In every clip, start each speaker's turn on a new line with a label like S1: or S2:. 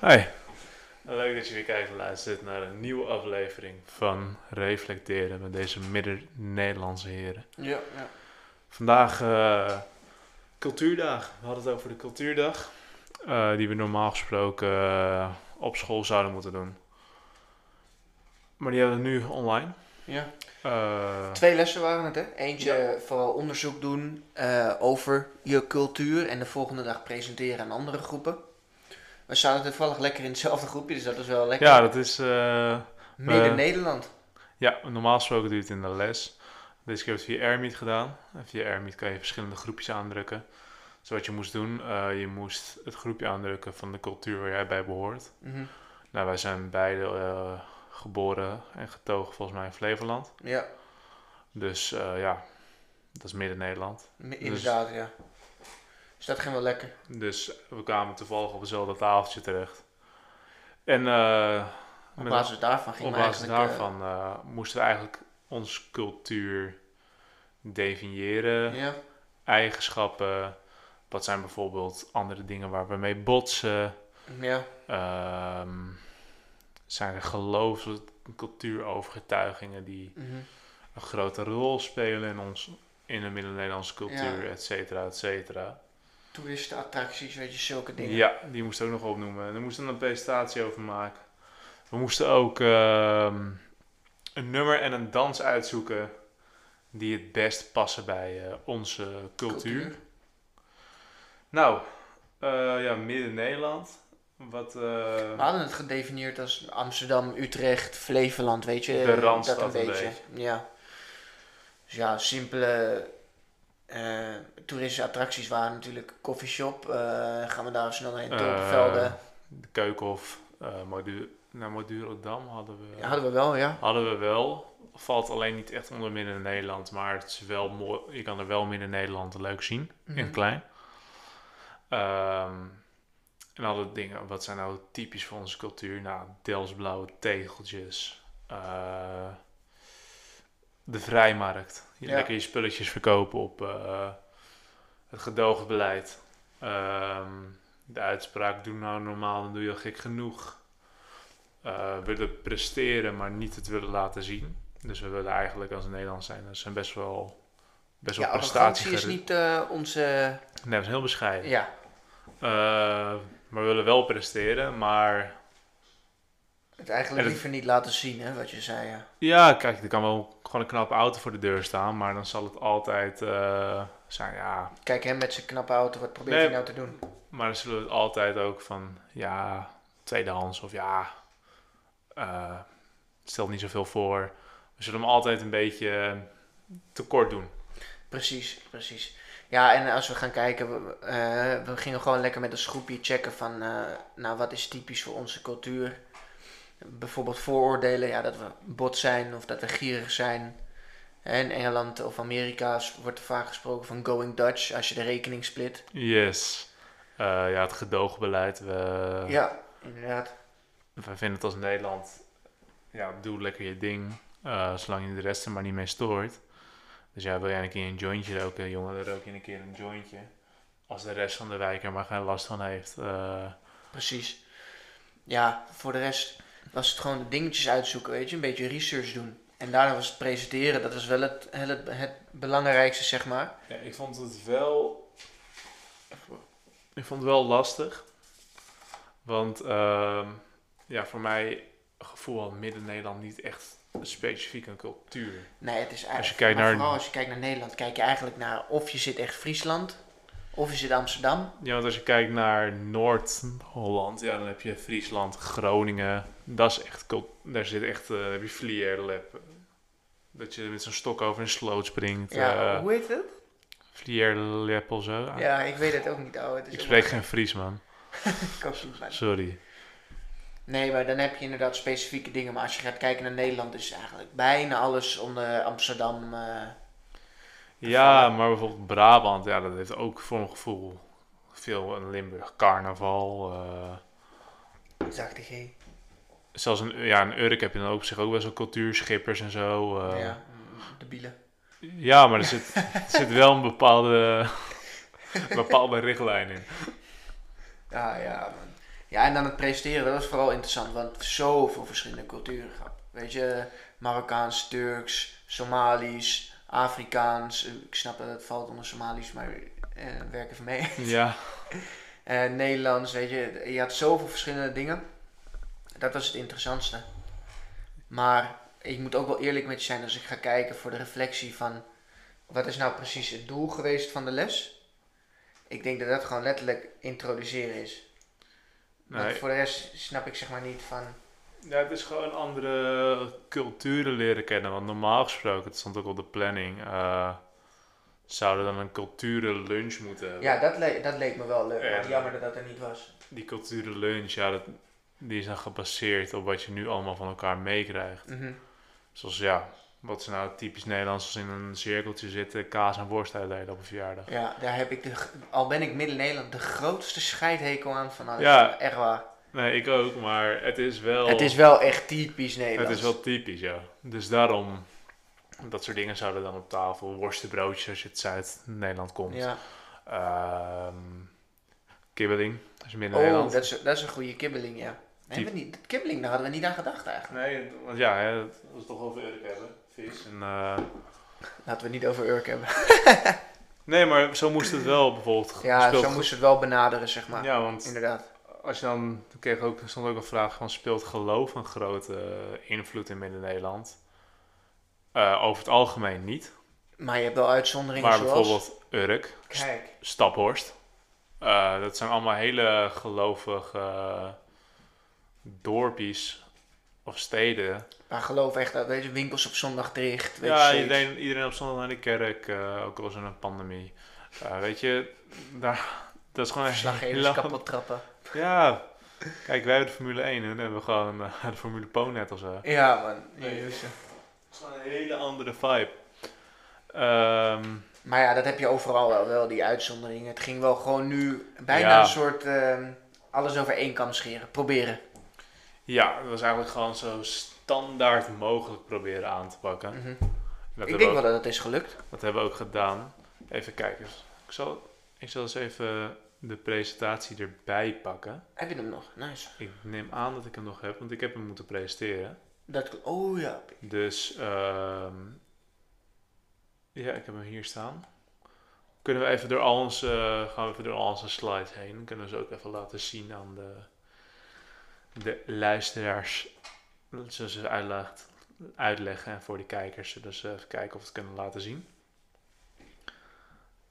S1: Hoi. Leuk dat je weer kijkt en luistert naar een nieuwe aflevering van Reflecteren met deze midden-Nederlandse heren.
S2: Ja, ja.
S1: Vandaag eh, cultuurdag. We hadden het over de cultuurdag. eh, die we normaal gesproken eh, op school zouden moeten doen. Maar die hebben we nu online.
S2: ja.
S1: Eh,
S3: Twee lessen waren het, hè? Eentje vooral onderzoek doen eh, over je cultuur en de volgende dag presenteren aan andere groepen. We zaten toevallig lekker in hetzelfde groepje, dus dat is wel lekker.
S1: ja, dat is... eh,
S3: Midden-Nederland.
S1: Ja, normaal gesproken doe je het in de les. Deze keer heb ik het via AirMeet gedaan. En via AirMeet kan je verschillende groepjes aandrukken. Dus wat je moest doen, eh, je moest het groepje aandrukken van de cultuur waar jij bij behoort.
S3: Mhm.
S1: Nou, wij zijn beide eh, geboren en getogen volgens mij in Flevoland.
S3: Ja,
S1: Dus eh, ja, dat is midden-Nederland.
S3: m- inderdaad, ja. Dus dat ging wel lekker.
S1: Dus we kwamen toevallig op hetzelfde tafeltje terecht. En eh,
S3: Op
S1: met-
S3: basis daarvan ging
S1: Op
S3: we
S1: basis
S3: eigenlijk... eh,
S1: daarvan eh, moesten we eigenlijk onze cultuur definiëren.
S3: ja,
S1: Eigenschappen. Wat zijn bijvoorbeeld andere dingen waar we mee botsen?
S3: ja,
S1: Ehm, zijn er geloofs- en cultuurovertuigingen die
S3: mhm.
S1: een grote rol spelen in, ons, in de middel-Nederlandse cultuur,
S3: Ja.
S1: et cetera, et cetera?
S3: toeristenattracties, weet je, zulke dingen.
S1: Ja, die moest ik ook nog opnoemen. En Daar moesten we een presentatie over maken. We moesten ook ehm, een nummer en een dans uitzoeken die het best passen bij eh, onze cultuur. Nou, eh, ja, midden-Nederland. Wat, eh,
S3: We hadden het gedefinieerd als Amsterdam, Utrecht, Flevoland, weet je.
S1: De Randstad
S3: dat
S1: een
S3: een beetje. Ja. Dus ja, simpele eh toeristische attracties waren natuurlijk coffeeshop. eh, gaan we daar snel heen,
S1: Eh,
S3: Tulpenvelden.
S1: de Keukenhof, eh Modu naar Madurodam hadden we,
S3: Ja, hadden we wel, ja.
S1: hadden we wel. Valt alleen niet echt onder midden-Nederland, maar het is wel mooi. Je kan er wel midden-Nederland leuk zien. in het
S3: Mhm.
S1: klein. Ehm, en alle dingen, wat zijn nou typisch voor onze cultuur? Nou, Delsblauwe tegeltjes. eh, de vrijmarkt. Je
S3: Ja.
S1: Lekker je spulletjes verkopen op eh, het gedoogbeleid. Ehm, de uitspraak, doe nou normaal, dan doe je al gek genoeg. Eh, willen presteren, maar niet het willen laten zien. Dus we willen eigenlijk als Nederlands zijn, dat zijn best wel, best wel
S3: Ja,
S1: prestatie.
S3: arrogantie is niet eh, onze...
S1: Nee, we zijn heel bescheiden.
S3: Ja,
S1: Eh, maar we willen wel presteren, maar...
S3: het
S1: En
S3: eigenlijk
S1: het-
S3: liever niet laten zien, hè, wat je zei. Ja.
S1: Ja, kijk, er kan wel gewoon een knappe auto voor de deur staan, maar dan zal het altijd eh, zijn, ja...
S3: Kijk, hem met zijn knappe auto, wat probeert
S1: Nee.
S3: hij nou te doen?
S1: Maar dan zullen we het altijd ook van, ja, tweedehands of ja... eh, stelt niet zoveel voor. We zullen hem altijd een beetje eh, tekort doen.
S3: Precies, precies. Ja, en als we gaan kijken, we, eh, we gingen gewoon lekker met een groepje checken van, eh, nou, wat is typisch voor onze cultuur? Bijvoorbeeld vooroordelen, ja, dat we bot zijn of dat we gierig zijn. Hè, In Engeland of Amerika s- wordt er vaak gesproken van going Dutch als je de rekening split.
S1: Yes. Eh, ja, het gedoogbeleid. We,
S3: Ja, inderdaad.
S1: we vinden het als Nederland, ja, doe lekker je ding, eh, zolang je de rest er maar niet mee stoort. Dus ja, wil jij een keer een jointje roken, jongen, dan rook je een keer een jointje. Als de rest van de wijk er maar geen last van heeft. eh,
S3: Precies. Ja, voor de rest was het gewoon de dingetjes uitzoeken, weet je, een beetje research doen. En daarna was het presenteren, dat was wel het, het, het belangrijkste, zeg maar.
S1: Ja, ik vond het wel. Ik vond het wel lastig. Want ehm, ja, voor mij gevoel had Midden-Nederland niet echt specifiek een cultuur.
S3: Nee, het is eigenlijk.
S1: Als je kijkt
S3: maar
S1: naar-
S3: Vooral als je kijkt naar Nederland, kijk je eigenlijk naar of je zit echt Friesland, of je zit Amsterdam.
S1: Ja, want als je kijkt naar Noord-Holland, ja, dan heb je Friesland, Groningen. Dat is echt, cult- daar zit echt, eh, heb je Vlierlep. Dat je met zo'n stok over een sloot springt.
S3: Ja,
S1: Ja,
S3: hoe heet het?
S1: Vlierlep of zo. Ah,
S3: Ja, ik weet het ook niet, ouwe. Het is
S1: ik
S3: ook-
S1: spreek geen Fries, man.
S3: ik ook niet, maar-
S1: Sorry.
S3: Nee, maar dan heb je inderdaad specifieke dingen. Maar als je gaat kijken naar Nederland, is eigenlijk bijna alles onder Amsterdam. eh,
S1: Ja, maar bijvoorbeeld Brabant, ja, dat heeft ook voor mijn gevoel veel een Limburg carnaval. eh,
S3: zachte G.
S1: zelfs een, ja, een Urk heb je dan ook op zich ook best wel cultuurschippers en zo. eh.
S3: ja, mm, de bielen.
S1: Ja, maar er zit, er zit wel een bepaalde, een bepaalde richtlijn in.
S3: Ja, ja, man. Ja, en dan het presenteren, dat was vooral interessant, want zoveel verschillende culturen gehad. Weet je, Marokkaans, Turks, Somalisch, Afrikaans. Eh, Ik snap dat het valt onder Somalisch, maar eh, werk even mee.
S1: Ja.
S3: Eh, Nederlands, weet je, je had zoveel verschillende dingen. Dat was het interessantste. Maar ik moet ook wel eerlijk met je zijn als ik ga kijken voor de reflectie van wat is nou precies het doel geweest van de les. Ik denk dat dat gewoon letterlijk introduceren is. Want
S1: Nee,
S3: voor de rest snap ik zeg maar niet van.
S1: Ja, het is gewoon andere culturen leren kennen. Want normaal gesproken, het stond ook op de planning, eh, zouden we dan een culturenlunch moeten hebben.
S3: Ja, dat, le- dat leek me wel leuk.
S1: Ja.
S3: maar jammer dat dat er niet was.
S1: Die culturenlunch, ja, dat, die is dan gebaseerd op wat je nu allemaal van elkaar meekrijgt.
S3: Mhm.
S1: Zoals ja, wat is nou typisch Nederlands als in een cirkeltje zitten, kaas en worst uitdelen op een verjaardag.
S3: Ja, daar heb ik, de, g- al ben ik Midden-Nederland, de grootste scheidhekel aan van alles.
S1: Ja.
S3: Echt waar.
S1: Nee, ik ook, maar het is wel,
S3: Het is wel echt typisch
S1: het
S3: Nederland.
S1: is wel typisch, ja. Dus daarom, dat soort dingen zouden dan op tafel, worstenbroodjes als je uit Zuid-Nederland komt.
S3: Ja.
S1: Ehm, kibbeling, als je midden in
S3: Oh,
S1: Nederland.
S3: dat is, dat is een goede kibbeling, ja. Nee,
S1: Die-
S3: hebben we niet, dat kibbeling, daar hadden we niet aan gedacht eigenlijk.
S1: Nee, want ja, hè, dat was toch over Urk hebben, vis. En, eh,
S3: Laten we het niet over Urk hebben.
S1: nee, maar zo moest het wel bijvoorbeeld.
S3: Ja,
S1: speelt
S3: zo
S1: ge-
S3: moest het wel benaderen, zeg maar.
S1: Ja, want
S3: Inderdaad.
S1: als je dan, toen kreeg ik ook, er stond ook een vraag van, speelt geloof een grote eh, invloed in Midden-Nederland? Eh, over het algemeen niet.
S3: Maar je hebt wel uitzonderingen
S1: Maar
S3: zoals...
S1: bijvoorbeeld Urk,
S3: Kijk.
S1: Staphorst. Eh, dat zijn allemaal hele gelovige eh, dorpjes of steden.
S3: Waar geloof echt dat, weet je, winkels op zondag dicht. Weet
S1: Ja,
S3: je, zoiets.
S1: iedereen, iedereen op zondag naar de kerk, eh, ook al is er een pandemie. Eh, weet je, daar, dat is gewoon een
S3: Verslaggevers
S1: hele-
S3: kapot trappen.
S1: Ja, kijk, wij hebben de Formule 1 en dan hebben we gewoon eh, de Formule Po net als. zo. Het
S3: Ja, man.
S1: Nee.
S3: Jezus.
S1: is gewoon een hele andere vibe. Ehm,
S3: Maar ja, dat heb je overal wel, wel die uitzonderingen. Het ging wel gewoon nu bijna
S1: Ja.
S3: een soort ehm, alles over één kam scheren. Proberen.
S1: ja, dat was eigenlijk gewoon zo standaard mogelijk proberen aan te pakken.
S3: Mhm.
S1: Dat,
S3: Ik
S1: hebben
S3: denk
S1: we,
S3: wel dat het is gelukt.
S1: ook, dat hebben we ook gedaan. Even kijken. Ik zal, ik zal eens even de presentatie erbij pakken.
S3: Heb je hem nog? Nice.
S1: Ik neem aan dat ik hem nog heb, want ik heb hem moeten presenteren.
S3: Dat, oh ja.
S1: Dus ehm, ja, ik heb hem hier staan. Kunnen we even door al onze, eh, gaan we even door al onze slides heen. Dan kunnen we ze ook even laten zien aan de, de luisteraars. Dat ze ze uitlegt, uitleggen en voor de kijkers. Dus even kijken of we het kunnen laten zien.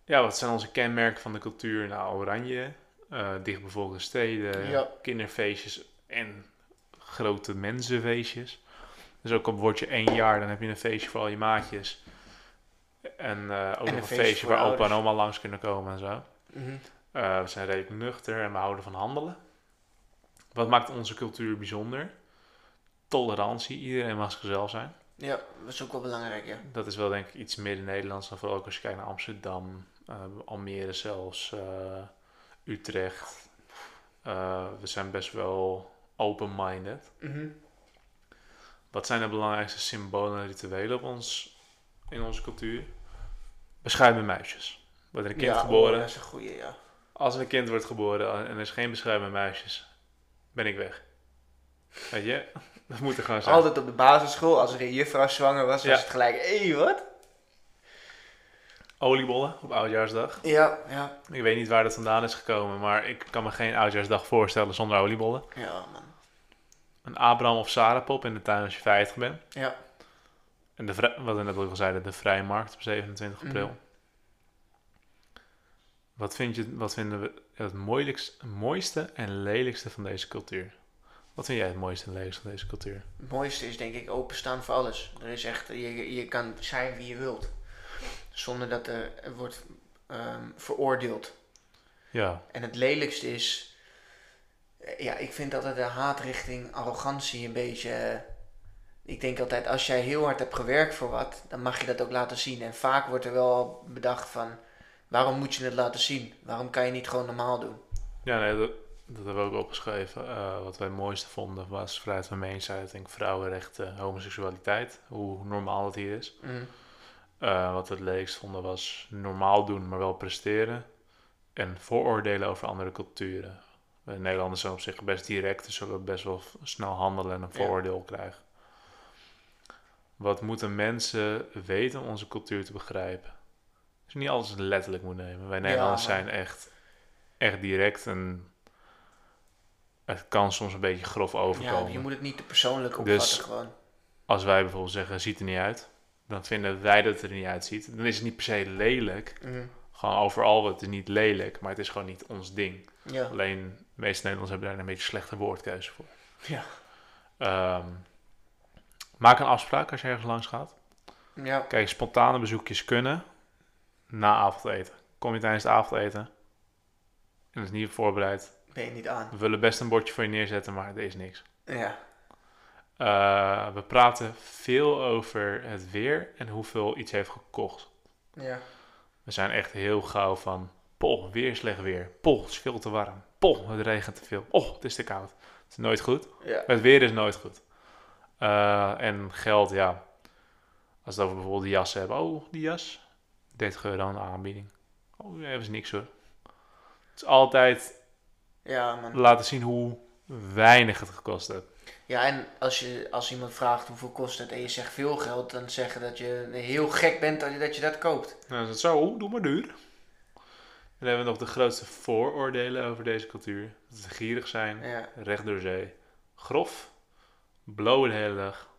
S1: Ja, wat zijn onze kenmerken van de cultuur? Nou, oranje, eh dichtbevolkte steden,
S3: Ja.
S1: kinderfeestjes en grote mensenfeestjes. Dus ook al word je één jaar, dan heb je een feestje voor al je maatjes. En eh, ook nog een
S3: een feestje
S1: feestje
S3: voor
S1: waar opa en
S3: ouders.
S1: oma langs kunnen komen en zo.
S3: Mhm.
S1: Eh, we zijn redelijk nuchter en we houden van handelen. Wat maakt onze cultuur bijzonder? Tolerantie. Iedereen mag gezellig zijn.
S3: Ja, dat is ook wel belangrijk, ja.
S1: Dat is wel denk ik iets meer Nederlands dan vooral ook als je kijkt naar Amsterdam, eh, Almere zelfs, eh, Utrecht. Eh, we zijn best wel open-minded.
S3: Mhm.
S1: Wat zijn de belangrijkste symbolen en rituelen op ons, in onze cultuur? Bescheiden meisjes. Wordt er een kind
S3: ja,
S1: geboren?
S3: oh, dat is een goeie, ja.
S1: Als een kind wordt geboren en er is geen bescheiden meisjes, ben ik weg. Weet je? Dat moet er gewoon zijn.
S3: Altijd op de basisschool, als er een juffrouw zwanger was,
S1: Ja.
S3: was het gelijk, hé, hey, wat?
S1: Oliebollen op Oudjaarsdag.
S3: Ja, ja.
S1: Ik weet niet waar dat vandaan is gekomen, maar ik kan me geen Oudjaarsdag voorstellen zonder oliebollen.
S3: Ja, man.
S1: Een Abraham of Sarah pop in de tuin als je 50 bent.
S3: Ja.
S1: En de vrij- wat we net ook al zeiden, de vrijmarkt op 27 april.
S3: Mhm.
S1: Wat, vind je, wat vinden we het moeilijkst, mooiste en lelijkste van deze cultuur? Wat vind jij het mooiste en lelijkste van deze cultuur?
S3: Het mooiste is denk ik openstaan voor alles. Er is echt, je, je kan zijn wie je wilt. Zonder dat er wordt ehm, veroordeeld.
S1: Ja,
S3: En het lelijkste is, eh, ja, ik vind altijd de haat richting arrogantie een beetje. eh, Ik denk altijd, als jij heel hard hebt gewerkt voor wat, dan mag je dat ook laten zien. En vaak wordt er wel bedacht van, waarom moet je het laten zien? Waarom kan je niet gewoon normaal doen?
S1: Ja, nee, dat, dat hebben we ook opgeschreven. Eh, wat wij het mooiste vonden was vrijheid van meningsuiting, vrouwenrechten, homoseksualiteit. Hoe normaal het hier is.
S3: Mm.
S1: Eh, wat we het leukst vonden was normaal doen, maar wel presteren. En vooroordelen over andere culturen. We Nederlanders zijn op zich best direct, dus zullen best wel f- snel handelen en een
S3: Ja.
S1: vooroordeel krijgen. Wat moeten mensen weten om onze cultuur te begrijpen? Dus niet alles letterlijk moet nemen. Wij Nederlanders
S3: maar-
S1: zijn echt, echt direct en het kan soms een beetje grof
S3: Ja,
S1: overkomen.
S3: je moet het niet te persoonlijk opvatten
S1: Dus-
S3: gewoon.
S1: Als wij bijvoorbeeld zeggen, ziet er niet uit, dan vinden wij dat het er niet uitziet. Dan is het niet per se lelijk.
S3: Mhm.
S1: Gewoon overal, het is niet lelijk, maar het is gewoon niet ons ding.
S3: Ja.
S1: Alleen de meeste Nederlanders hebben daar een beetje slechte woordkeuze voor.
S3: Ja.
S1: Ehm, maak een afspraak als je ergens langs gaat.
S3: ja.
S1: Kijk, spontane bezoekjes kunnen na avondeten. Kom je tijdens het avondeten en dat is niet voorbereid.
S3: Ben je niet aan.
S1: We willen best een bordje voor je neerzetten, maar er is niks.
S3: Ja.
S1: Eh, we praten veel over het weer en hoeveel iets heeft gekocht.
S3: Ja.
S1: We zijn echt heel gauw van... Poh, weer slecht weer. Poh, het is veel te warm. Poh, het regent te veel. Och, het is te koud. Het is nooit goed.
S3: Ja.
S1: Het weer is nooit goed. Eh, en geld, ja. Als we het over bijvoorbeeld die jas hebben. Oh, die jas. 30 euro aan de aanbieding. Oh, daar hebben ze niks hoor. Het is altijd
S3: Ja, man.
S1: laten zien hoe weinig het gekost heeft.
S3: Ja, en als, je, als iemand vraagt hoeveel kost het en je zegt veel geld, dan zeggen dat je heel gek bent dat je dat, je dat koopt.
S1: Nou, is het zo, oeh, doe maar duur. En dan hebben we nog de grootste vooroordelen over deze cultuur. Dat ze gierig zijn,
S3: Ja.
S1: recht door zee, grof, blowen de hele dag.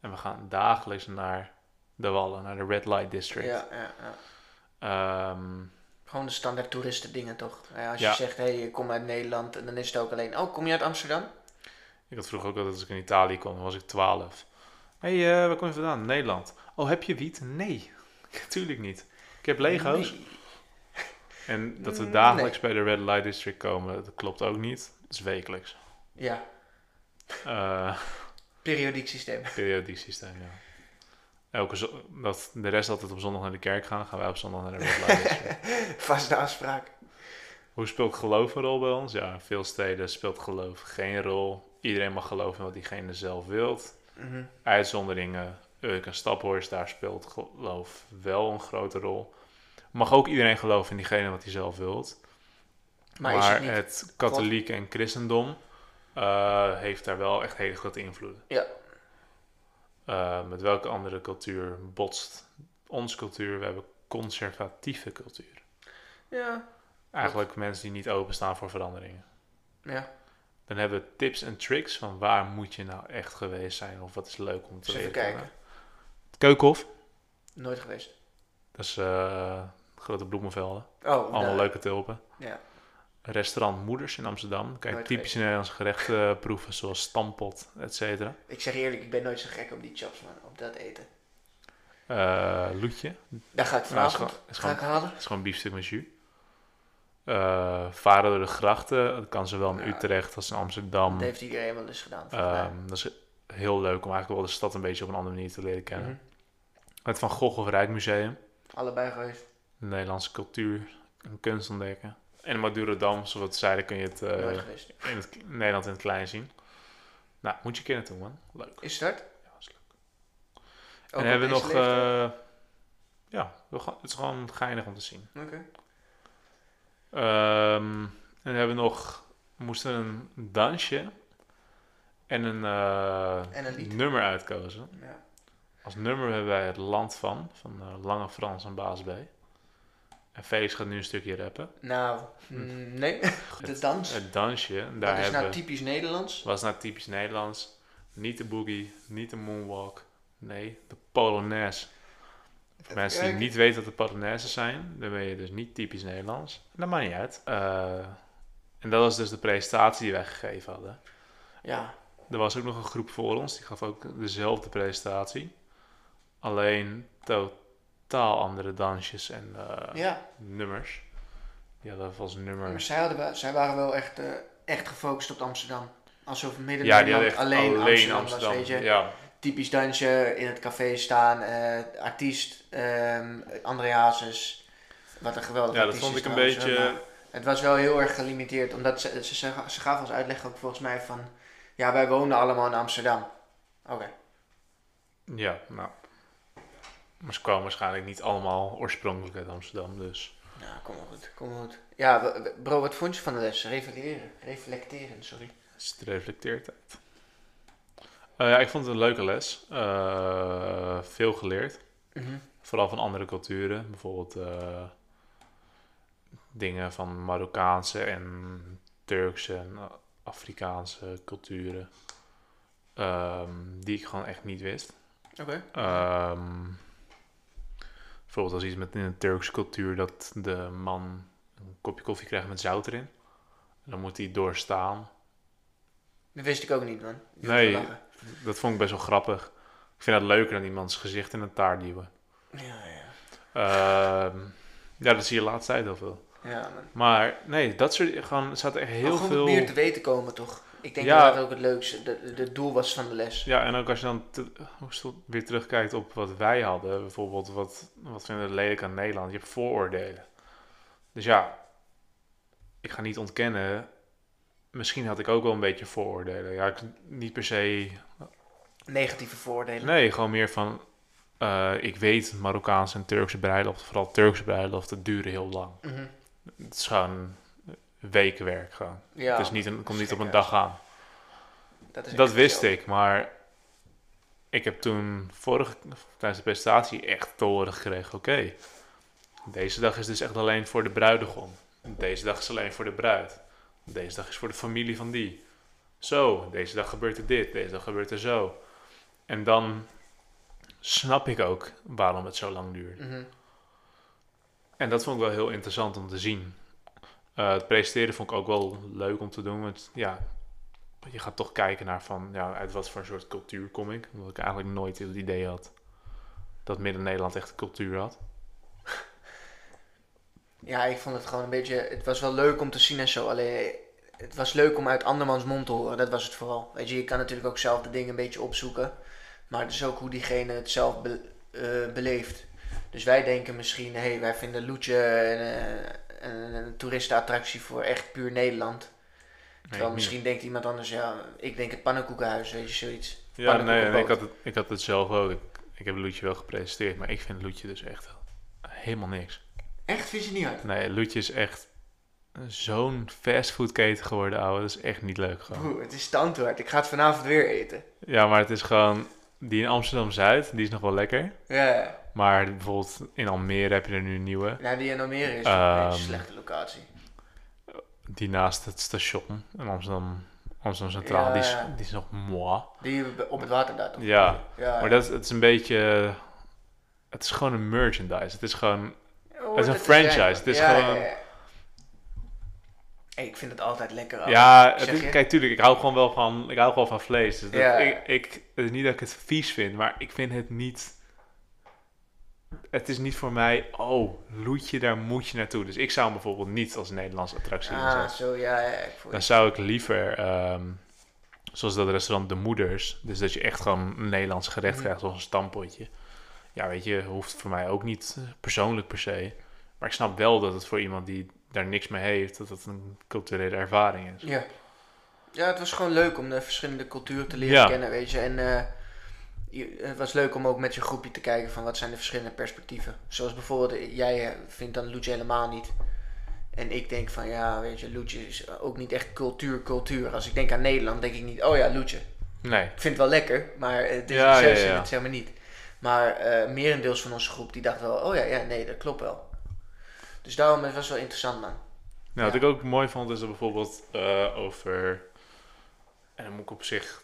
S1: En we gaan dagelijks naar de wallen, naar de Red Light District.
S3: Ja, ja, ja.
S1: Ehm,
S3: Gewoon de standaard toeristen dingen toch? Ja, als
S1: Ja.
S3: je zegt, hé, hey, ik kom uit Nederland, en dan is het ook alleen, oh, kom je uit Amsterdam?
S1: ik had vroeger ook altijd als ik in Italië kwam, dan was ik 12. Hé, hey, eh, waar kom je vandaan? Nederland. Oh, heb je wiet? Nee, natuurlijk niet. Ik heb Lego's.
S3: Nee. Mm,
S1: En dat we
S3: Nee.
S1: dagelijks bij de Red Light District komen, dat klopt ook niet. Dat is wekelijks.
S3: Ja,
S1: Eh,
S3: periodiek systeem.
S1: Periodiek systeem, ja. Elke zo- dat de rest altijd op zondag naar de kerk gaan, gaan wij op zondag naar de Red Light District.
S3: Vaste afspraak.
S1: Hoe speelt geloof een rol bij ons? Ja, in veel steden speelt geloof geen rol. Iedereen mag geloven in wat diegene zelf wilt.
S3: Mhm.
S1: Uitzonderingen, Urk en Staphorst, daar speelt geloof wel een grote rol. Mag ook iedereen geloven in diegene wat hij zelf wilt.
S3: Maar,
S1: Maar,
S3: is het
S1: het,
S3: niet?
S1: katholiek en christendom eh, heeft daar wel echt hele grote invloeden.
S3: Ja.
S1: Eh, met welke andere cultuur botst onze cultuur? We hebben conservatieve cultuur.
S3: Ja.
S1: Eigenlijk mensen die niet openstaan voor veranderingen.
S3: Ja.
S1: Dan hebben we tips en tricks van waar moet je nou echt geweest zijn of wat is leuk om te
S3: Eens even
S1: weten.
S3: kijken.
S1: Het Keukenhof,
S3: Nooit geweest.
S1: dat is eh, grote bloemenvelden,
S3: Oh,
S1: allemaal
S3: nou,
S1: leuke tulpen.
S3: Ja.
S1: Restaurant Moeders in Amsterdam, kijk
S3: Nooit
S1: typische Nederlandse gerechten eh, proeven zoals stampot, et cetera.
S3: Ik zeg je eerlijk, ik ben nooit zo gek op die chaps, man. Op dat eten.
S1: Eh, loetje,
S3: Daar ga ik
S1: Nou, is
S3: vanavond.
S1: gewoon- is
S3: ga ik halen.
S1: Het is gewoon biefstuk met jus. Eh, varen door de grachten. Dat kan zowel in
S3: Ja.
S1: Utrecht als in Amsterdam.
S3: Dat heeft iedereen wel eens gedaan. volgens mij.
S1: Ehm, dat is heel leuk om eigenlijk wel de stad een beetje op een andere manier te leren kennen.
S3: Mhm.
S1: Het Van Gogh of Rijkmuseum.
S3: Allebei geweest.
S1: De Nederlandse cultuur en kunst ontdekken. En Madurodam, zoals we het zeiden, kun je het, eh,
S3: Nooit geweest.
S1: in het in Nederland in het klein zien. Nou, moet je kennen toe, man. Leuk.
S3: Is dat?
S1: Ja, is leuk.
S3: Ook
S1: en hebben we
S3: op
S1: nog...
S3: deze leeftijd?
S1: eh, ja, we gaan- het is gewoon geinig om te zien.
S3: Oké.
S1: Ehm, en dan hebben we nog... We moesten een dansje en een, eh,
S3: En een lied.
S1: nummer uitkozen.
S3: Ja.
S1: Als nummer hebben wij Het Land Van, van eh, Lange Frans en Baas B. En Felix gaat nu een stukje rappen.
S3: Nou, mm, nee. De dans.
S1: Het dansje, en Hm. Eh, daar
S3: dat is
S1: hebben
S3: nou
S1: we-
S3: typisch Nederlands.
S1: was nou typisch Nederlands. Niet de boogie, niet de moonwalk. Nee, de polonaise. Voor
S3: Even
S1: mensen
S3: kijken.
S1: die niet weten wat de polonaises zijn, dan ben je dus niet typisch Nederlands. Dat maakt niet uit. Eh, en dat was dus de presentatie die wij gegeven hadden.
S3: Ja.
S1: Er was ook nog een groep voor ons, die gaf ook dezelfde presentatie. Alleen totaal andere dansjes en eh,
S3: ja.
S1: nummers. Die hadden we als
S3: Maar
S1: nummer.
S3: zij, hadden, wel- zij waren wel echt, eh, echt gefocust op Amsterdam. Alsof midden
S1: Ja, die hadden
S3: Nederland
S1: echt
S3: alleen, Amsterdam, was, weet je.
S1: Ja,
S3: Typisch dansje, in het café staan, eh, artiest, ehm André Hazes. Wat een geweldige
S1: ja dat
S3: artiest
S1: vond
S3: is
S1: ik een
S3: trouwens, hoor, maar-
S1: beetje. eh,
S3: Het was wel heel erg gelimiteerd, omdat ze, ze, ze, ze gaven als uitleg ook volgens mij van... Ja, wij wonen allemaal in Amsterdam. Oké.
S1: Ja, nou. Maar ze kwamen waarschijnlijk niet allemaal oorspronkelijk uit Amsterdam, dus
S3: Nou, kom maar goed, kom maar goed. Ja, w- w- bro, wat vond je van de les? Reflecteren, reflecteren, sorry.
S1: Het reflecteert uit. Eh, ja, ik vond het een leuke les. Eh, veel geleerd.
S3: Mhm.
S1: Vooral van andere culturen. Bijvoorbeeld eh, dingen van Marokkaanse en Turkse en Afrikaanse culturen. Ehm, die ik gewoon echt niet wist.
S3: Oké.
S1: Ehm, bijvoorbeeld als iets met in de Turkse cultuur dat de man een kopje koffie krijgt met zout erin. En dan moet hij doorstaan.
S3: Dat wist ik ook niet, man. Ik moet
S1: Nee.
S3: wel lachen.
S1: Dat vond ik best wel grappig. Ik vind dat leuker dan iemands gezicht in een taart duwen.
S3: Ja, ja.
S1: Ehm, ja, dat zie je de laatste tijd heel veel.
S3: Ja, man.
S1: Maar nee, dat soort gewoon, er zaten echt heel
S3: Maar Oh, gewoon
S1: veel.
S3: om meer te weten komen, toch? Ik denk
S1: Ja.
S3: dat dat ook het leukste, de, de, het doel was van de les.
S1: Ja, en ook als je dan te- hoe is het, weer terugkijkt op wat wij hadden, bijvoorbeeld wat, wat vinden we lelijk aan Nederland? Je hebt vooroordelen. Dus ja, ik ga niet ontkennen, misschien had ik ook wel een beetje vooroordelen. Ja, ik, niet per se,
S3: Negatieve voordelen.
S1: nee, gewoon meer van, eh, ik weet Marokkaanse en Turkse bruiloft, vooral Turkse bruiloften, duren heel lang.
S3: Mhm.
S1: Het is gewoon wekenwerk gewoon.
S3: Ja,
S1: het is niet een, komt niet op een
S3: gekke.
S1: dag aan.
S3: dat, is
S1: Dat
S3: echt
S1: wist
S3: zo.
S1: ik, maar ik heb toen vorige, tijdens de presentatie echt te horen gekregen, oké, deze dag is dus echt alleen voor de bruidegom. Deze dag is alleen voor de bruid. Deze dag is voor de familie van die. Zo, deze dag gebeurt er dit, deze dag gebeurt er zo. En dan snap ik ook waarom het zo lang duurt.
S3: Mhm.
S1: En dat vond ik wel heel interessant om te zien. Eh, het presteren vond ik ook wel leuk om te doen. Want ja, je gaat toch kijken naar van ja, uit wat voor soort cultuur kom ik. Omdat ik eigenlijk nooit het idee had dat Midden-Nederland echt een cultuur had.
S3: Ja, ik vond het gewoon een beetje. Het was wel leuk om te zien en zo. Alleen het was leuk om uit andermans mond te horen. Dat was het vooral. Weet je, je kan natuurlijk ook zelf de dingen een beetje opzoeken. Maar het is ook hoe diegene het zelf be- eh, beleeft. Dus wij denken misschien, hé, hey, wij vinden Loetje een, eh, een, een toeristenattractie voor echt puur Nederland. Terwijl
S1: ik niet.
S3: misschien denkt iemand anders, ja, ik denk het pannenkoekenhuis, weet je, zoiets.
S1: Ja, nee, en ik
S3: pannenkoekenboot.
S1: had, het, ik had het zelf ook. Ik, ik heb Loetje wel gepresenteerd, maar ik vind Loetje dus echt helemaal niks.
S3: Echt, vind je het niet uit?
S1: Nee, Loetje is echt zo'n fastfoodketen geworden, ouwe. Dat is echt niet leuk gewoon.
S3: Broer, het is standaard. Ik ga het vanavond weer eten.
S1: Ja, maar het is gewoon... Die in Amsterdam-Zuid, die is nog wel lekker.
S3: Ja,
S1: Maar bijvoorbeeld in Almere heb je er nu een nieuwe.
S3: nou, die in Almere is een
S1: Ehm.
S3: beetje een slechte locatie.
S1: Die naast het station in Amsterdam, Amsterdam Centraal.
S3: Ja,
S1: die, is,
S3: ja.
S1: die is nog mooi.
S3: Die op het water daar toch?
S1: Ja,
S3: ja.
S1: maar dat, is- het is een beetje... Het is gewoon een merchandise. Het is gewoon...
S3: Hoort
S1: het is een
S3: te
S1: franchise,
S3: zijn.
S1: het is
S3: Ja,
S1: gewoon-
S3: ja, ja. Hey, ik vind het altijd lekker. als-
S1: ja,
S3: zeg
S1: het is,
S3: je?
S1: kijk, tuurlijk, ik hou gewoon wel van, ik hou gewoon van vlees. Dus dat-
S3: Ja.
S1: ik, ik, het is niet dat ik het vies vind, maar ik vind het niet... Het is niet voor mij, oh, loetje, daar moet je naartoe. Dus ik zou hem bijvoorbeeld niet als Nederlands attractie inzetten.
S3: Ah, zo, ja, ja, ik voel je.
S1: Dan zou ik liever, ehm, zoals dat restaurant De Moeders, dus dat je echt gewoon een Nederlands gerecht
S3: Mhm.
S1: krijgt, zoals een stampotje. Ja, weet je, hoeft voor mij ook niet eh, persoonlijk per se. Maar ik snap wel dat het voor iemand die daar niks mee heeft, dat het een culturele ervaring is.
S3: Ja. ja, het was gewoon leuk om de verschillende culturen te leren
S1: Ja.
S3: kennen, weet je. En eh, je- het was leuk om ook met je groepje te kijken van wat zijn de verschillende perspectieven. Zoals bijvoorbeeld, eh, jij eh, vindt dan Loetje helemaal niet. En ik denk van, ja, weet je, Loetje is ook niet echt cultuur, cultuur. Als ik denk aan Nederland, denk ik niet, oh ja, Loetje.
S1: Nee,
S3: Ik vind het wel lekker, maar eh, het is
S1: Ja,
S3: ja,
S1: ja, ja.
S3: het zeg maar niet. Maar eh, merendeels van onze groep die dacht wel, oh ja, ja, nee, dat klopt wel. Dus daarom het was wel interessant, man.
S1: Nou, wat
S3: Ja.
S1: ik ook mooi vond is dat bijvoorbeeld eh, over. En dan moet ik op zich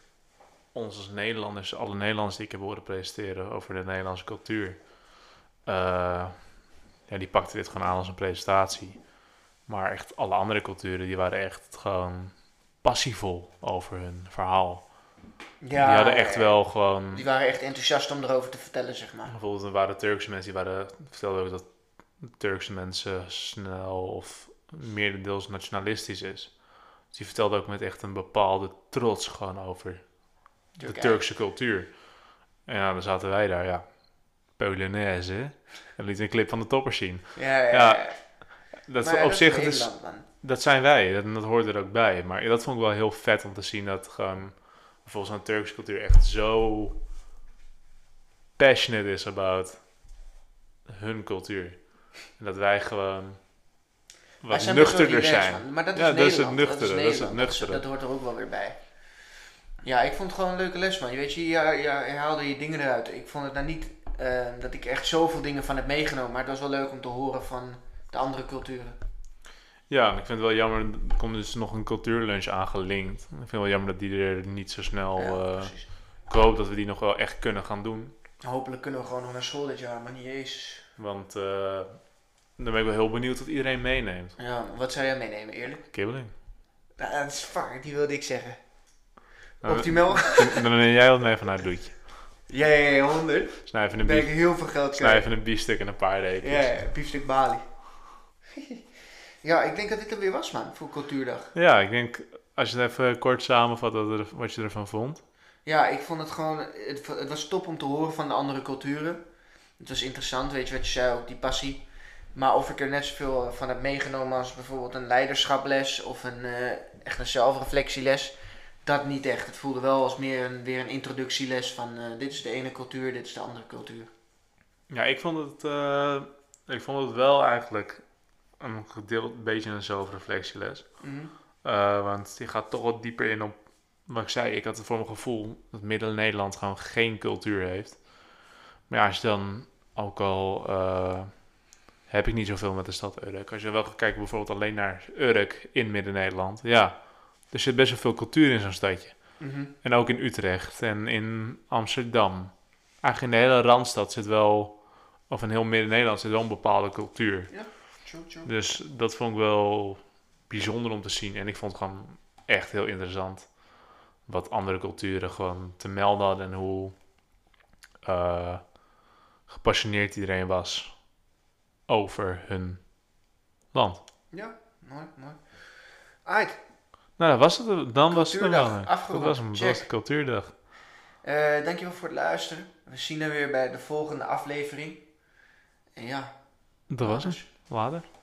S1: ons als Nederlanders, alle Nederlanders die ik heb horen presenteren over de Nederlandse cultuur. eh, ja, die pakten dit gewoon aan als een presentatie. Maar echt alle andere culturen die waren echt gewoon passievol over hun verhaal. die hadden echt wel gewoon.
S3: Die waren echt enthousiast om erover te vertellen, zeg maar.
S1: Bijvoorbeeld, er waren Turkse mensen die waren, vertelden ook dat Turkse mensen snel of meerendeels nationalistisch is. Dus die vertelde ook met echt een bepaalde trots gewoon over de
S3: Turkije.
S1: Turkse cultuur. En ja, dan zaten wij daar, ja. Polonaise, hè? En liet een clip van de toppers zien.
S3: Ja, ja,
S1: Ja,
S3: ja.
S1: Dat
S3: Maar ja,
S1: op zich, dat,
S3: is
S1: is-
S3: Nederland, man.
S1: dat zijn wij, dat, dat hoort er ook bij. Maar dat vond ik wel heel vet om te zien dat gewoon volgens een Turkse cultuur echt zo passionate is about hun cultuur. En dat wij gewoon wat
S3: zijn best wel
S1: nuchterder
S3: relaxed,
S1: zijn.
S3: man. Maar dat is,
S1: Ja, dat is het
S3: Nederland,
S1: nuchtere, dat is het
S3: Nederland. dus
S1: nuchtere.
S3: Dat hoort er ook wel weer bij. Ja, ik vond het gewoon een leuke les, man. Je weet, je, ja, ja, herhaalde je dingen eruit. Ik vond het nou niet eh, dat ik echt zoveel dingen van heb meegenomen. Maar het was wel leuk om te horen van de andere culturen.
S1: Ja, en ik vind het wel jammer, er komt dus nog een cultuurlunch aangelinkt. Ik vind het wel jammer dat die er niet zo snel...
S3: ja,
S1: eh,
S3: precies.
S1: ik hoop dat we die nog wel echt kunnen gaan doen.
S3: Hopelijk kunnen we gewoon nog naar school dit jaar, maar niet eens.
S1: Want eh, dan ben ik wel heel benieuwd wat iedereen meeneemt.
S3: Ja, wat zou jij meenemen, eerlijk?
S1: Kibbeling.
S3: Nou, dat is vaak, die wilde ik zeggen.
S1: Nou,
S3: Optimaal?
S1: Dan neem jij wat mee vanuit Doetje.
S3: Ja, ja, ja, 100.
S1: Snijven een,
S3: Dan ben ik
S1: bief,
S3: heel veel geld kwijt.
S1: snijven een biefstuk en een paar reepjes.
S3: Ja, ja, biefstuk Bali. ja, ik denk dat dit er weer was, man, voor Cultuurdag.
S1: Ja, ik denk, als je het even kort samenvat, dat er- wat je ervan vond.
S3: Ja, ik vond het gewoon, het, het was top om te horen van de andere culturen. Het was interessant, weet je wat je zei, ook die passie. Maar of ik er net zoveel eh, van heb meegenomen als bijvoorbeeld een leiderschaples of een, eh, echt een zelfreflectieles, dat niet echt. Het voelde wel als meer een, weer een introductieles van eh, dit is de ene cultuur, dit is de andere cultuur.
S1: Ja, ik vond het, eh, ik vond het wel eigenlijk een gedeeld beetje een zelfreflectieles.
S3: Mhm.
S1: Eh, want die gaat toch wat dieper in op wat ik zei. Ik had het voor mijn gevoel dat Midden-Nederland gewoon geen cultuur heeft. Maar ja, als je dan ook al... eh, heb ik niet zoveel met de stad Urk. Als je wel gaat kijken bijvoorbeeld alleen naar Urk in Midden-Nederland. Ja, er zit best wel veel cultuur in zo'n stadje.
S3: Mhm.
S1: En ook in Utrecht en in Amsterdam. Eigenlijk in de hele Randstad zit wel... Of in heel Midden-Nederland zit wel een bepaalde cultuur.
S3: True, true.
S1: Dus dat vond ik wel bijzonder om te zien. En ik vond het gewoon echt heel interessant wat andere culturen gewoon te melden hadden en hoe eh, gepassioneerd iedereen was over hun land.
S3: Ja, mooi, mooi. Aight,
S1: Nou, dat was het. Dan was het hem wel.
S3: Cultuurdag,
S1: Dat was, hem, dat
S3: check.
S1: was de cultuurdag.
S3: Eh, dankjewel voor het luisteren. We zien je weer bij de volgende aflevering. En ja,
S1: Dat was het. Later.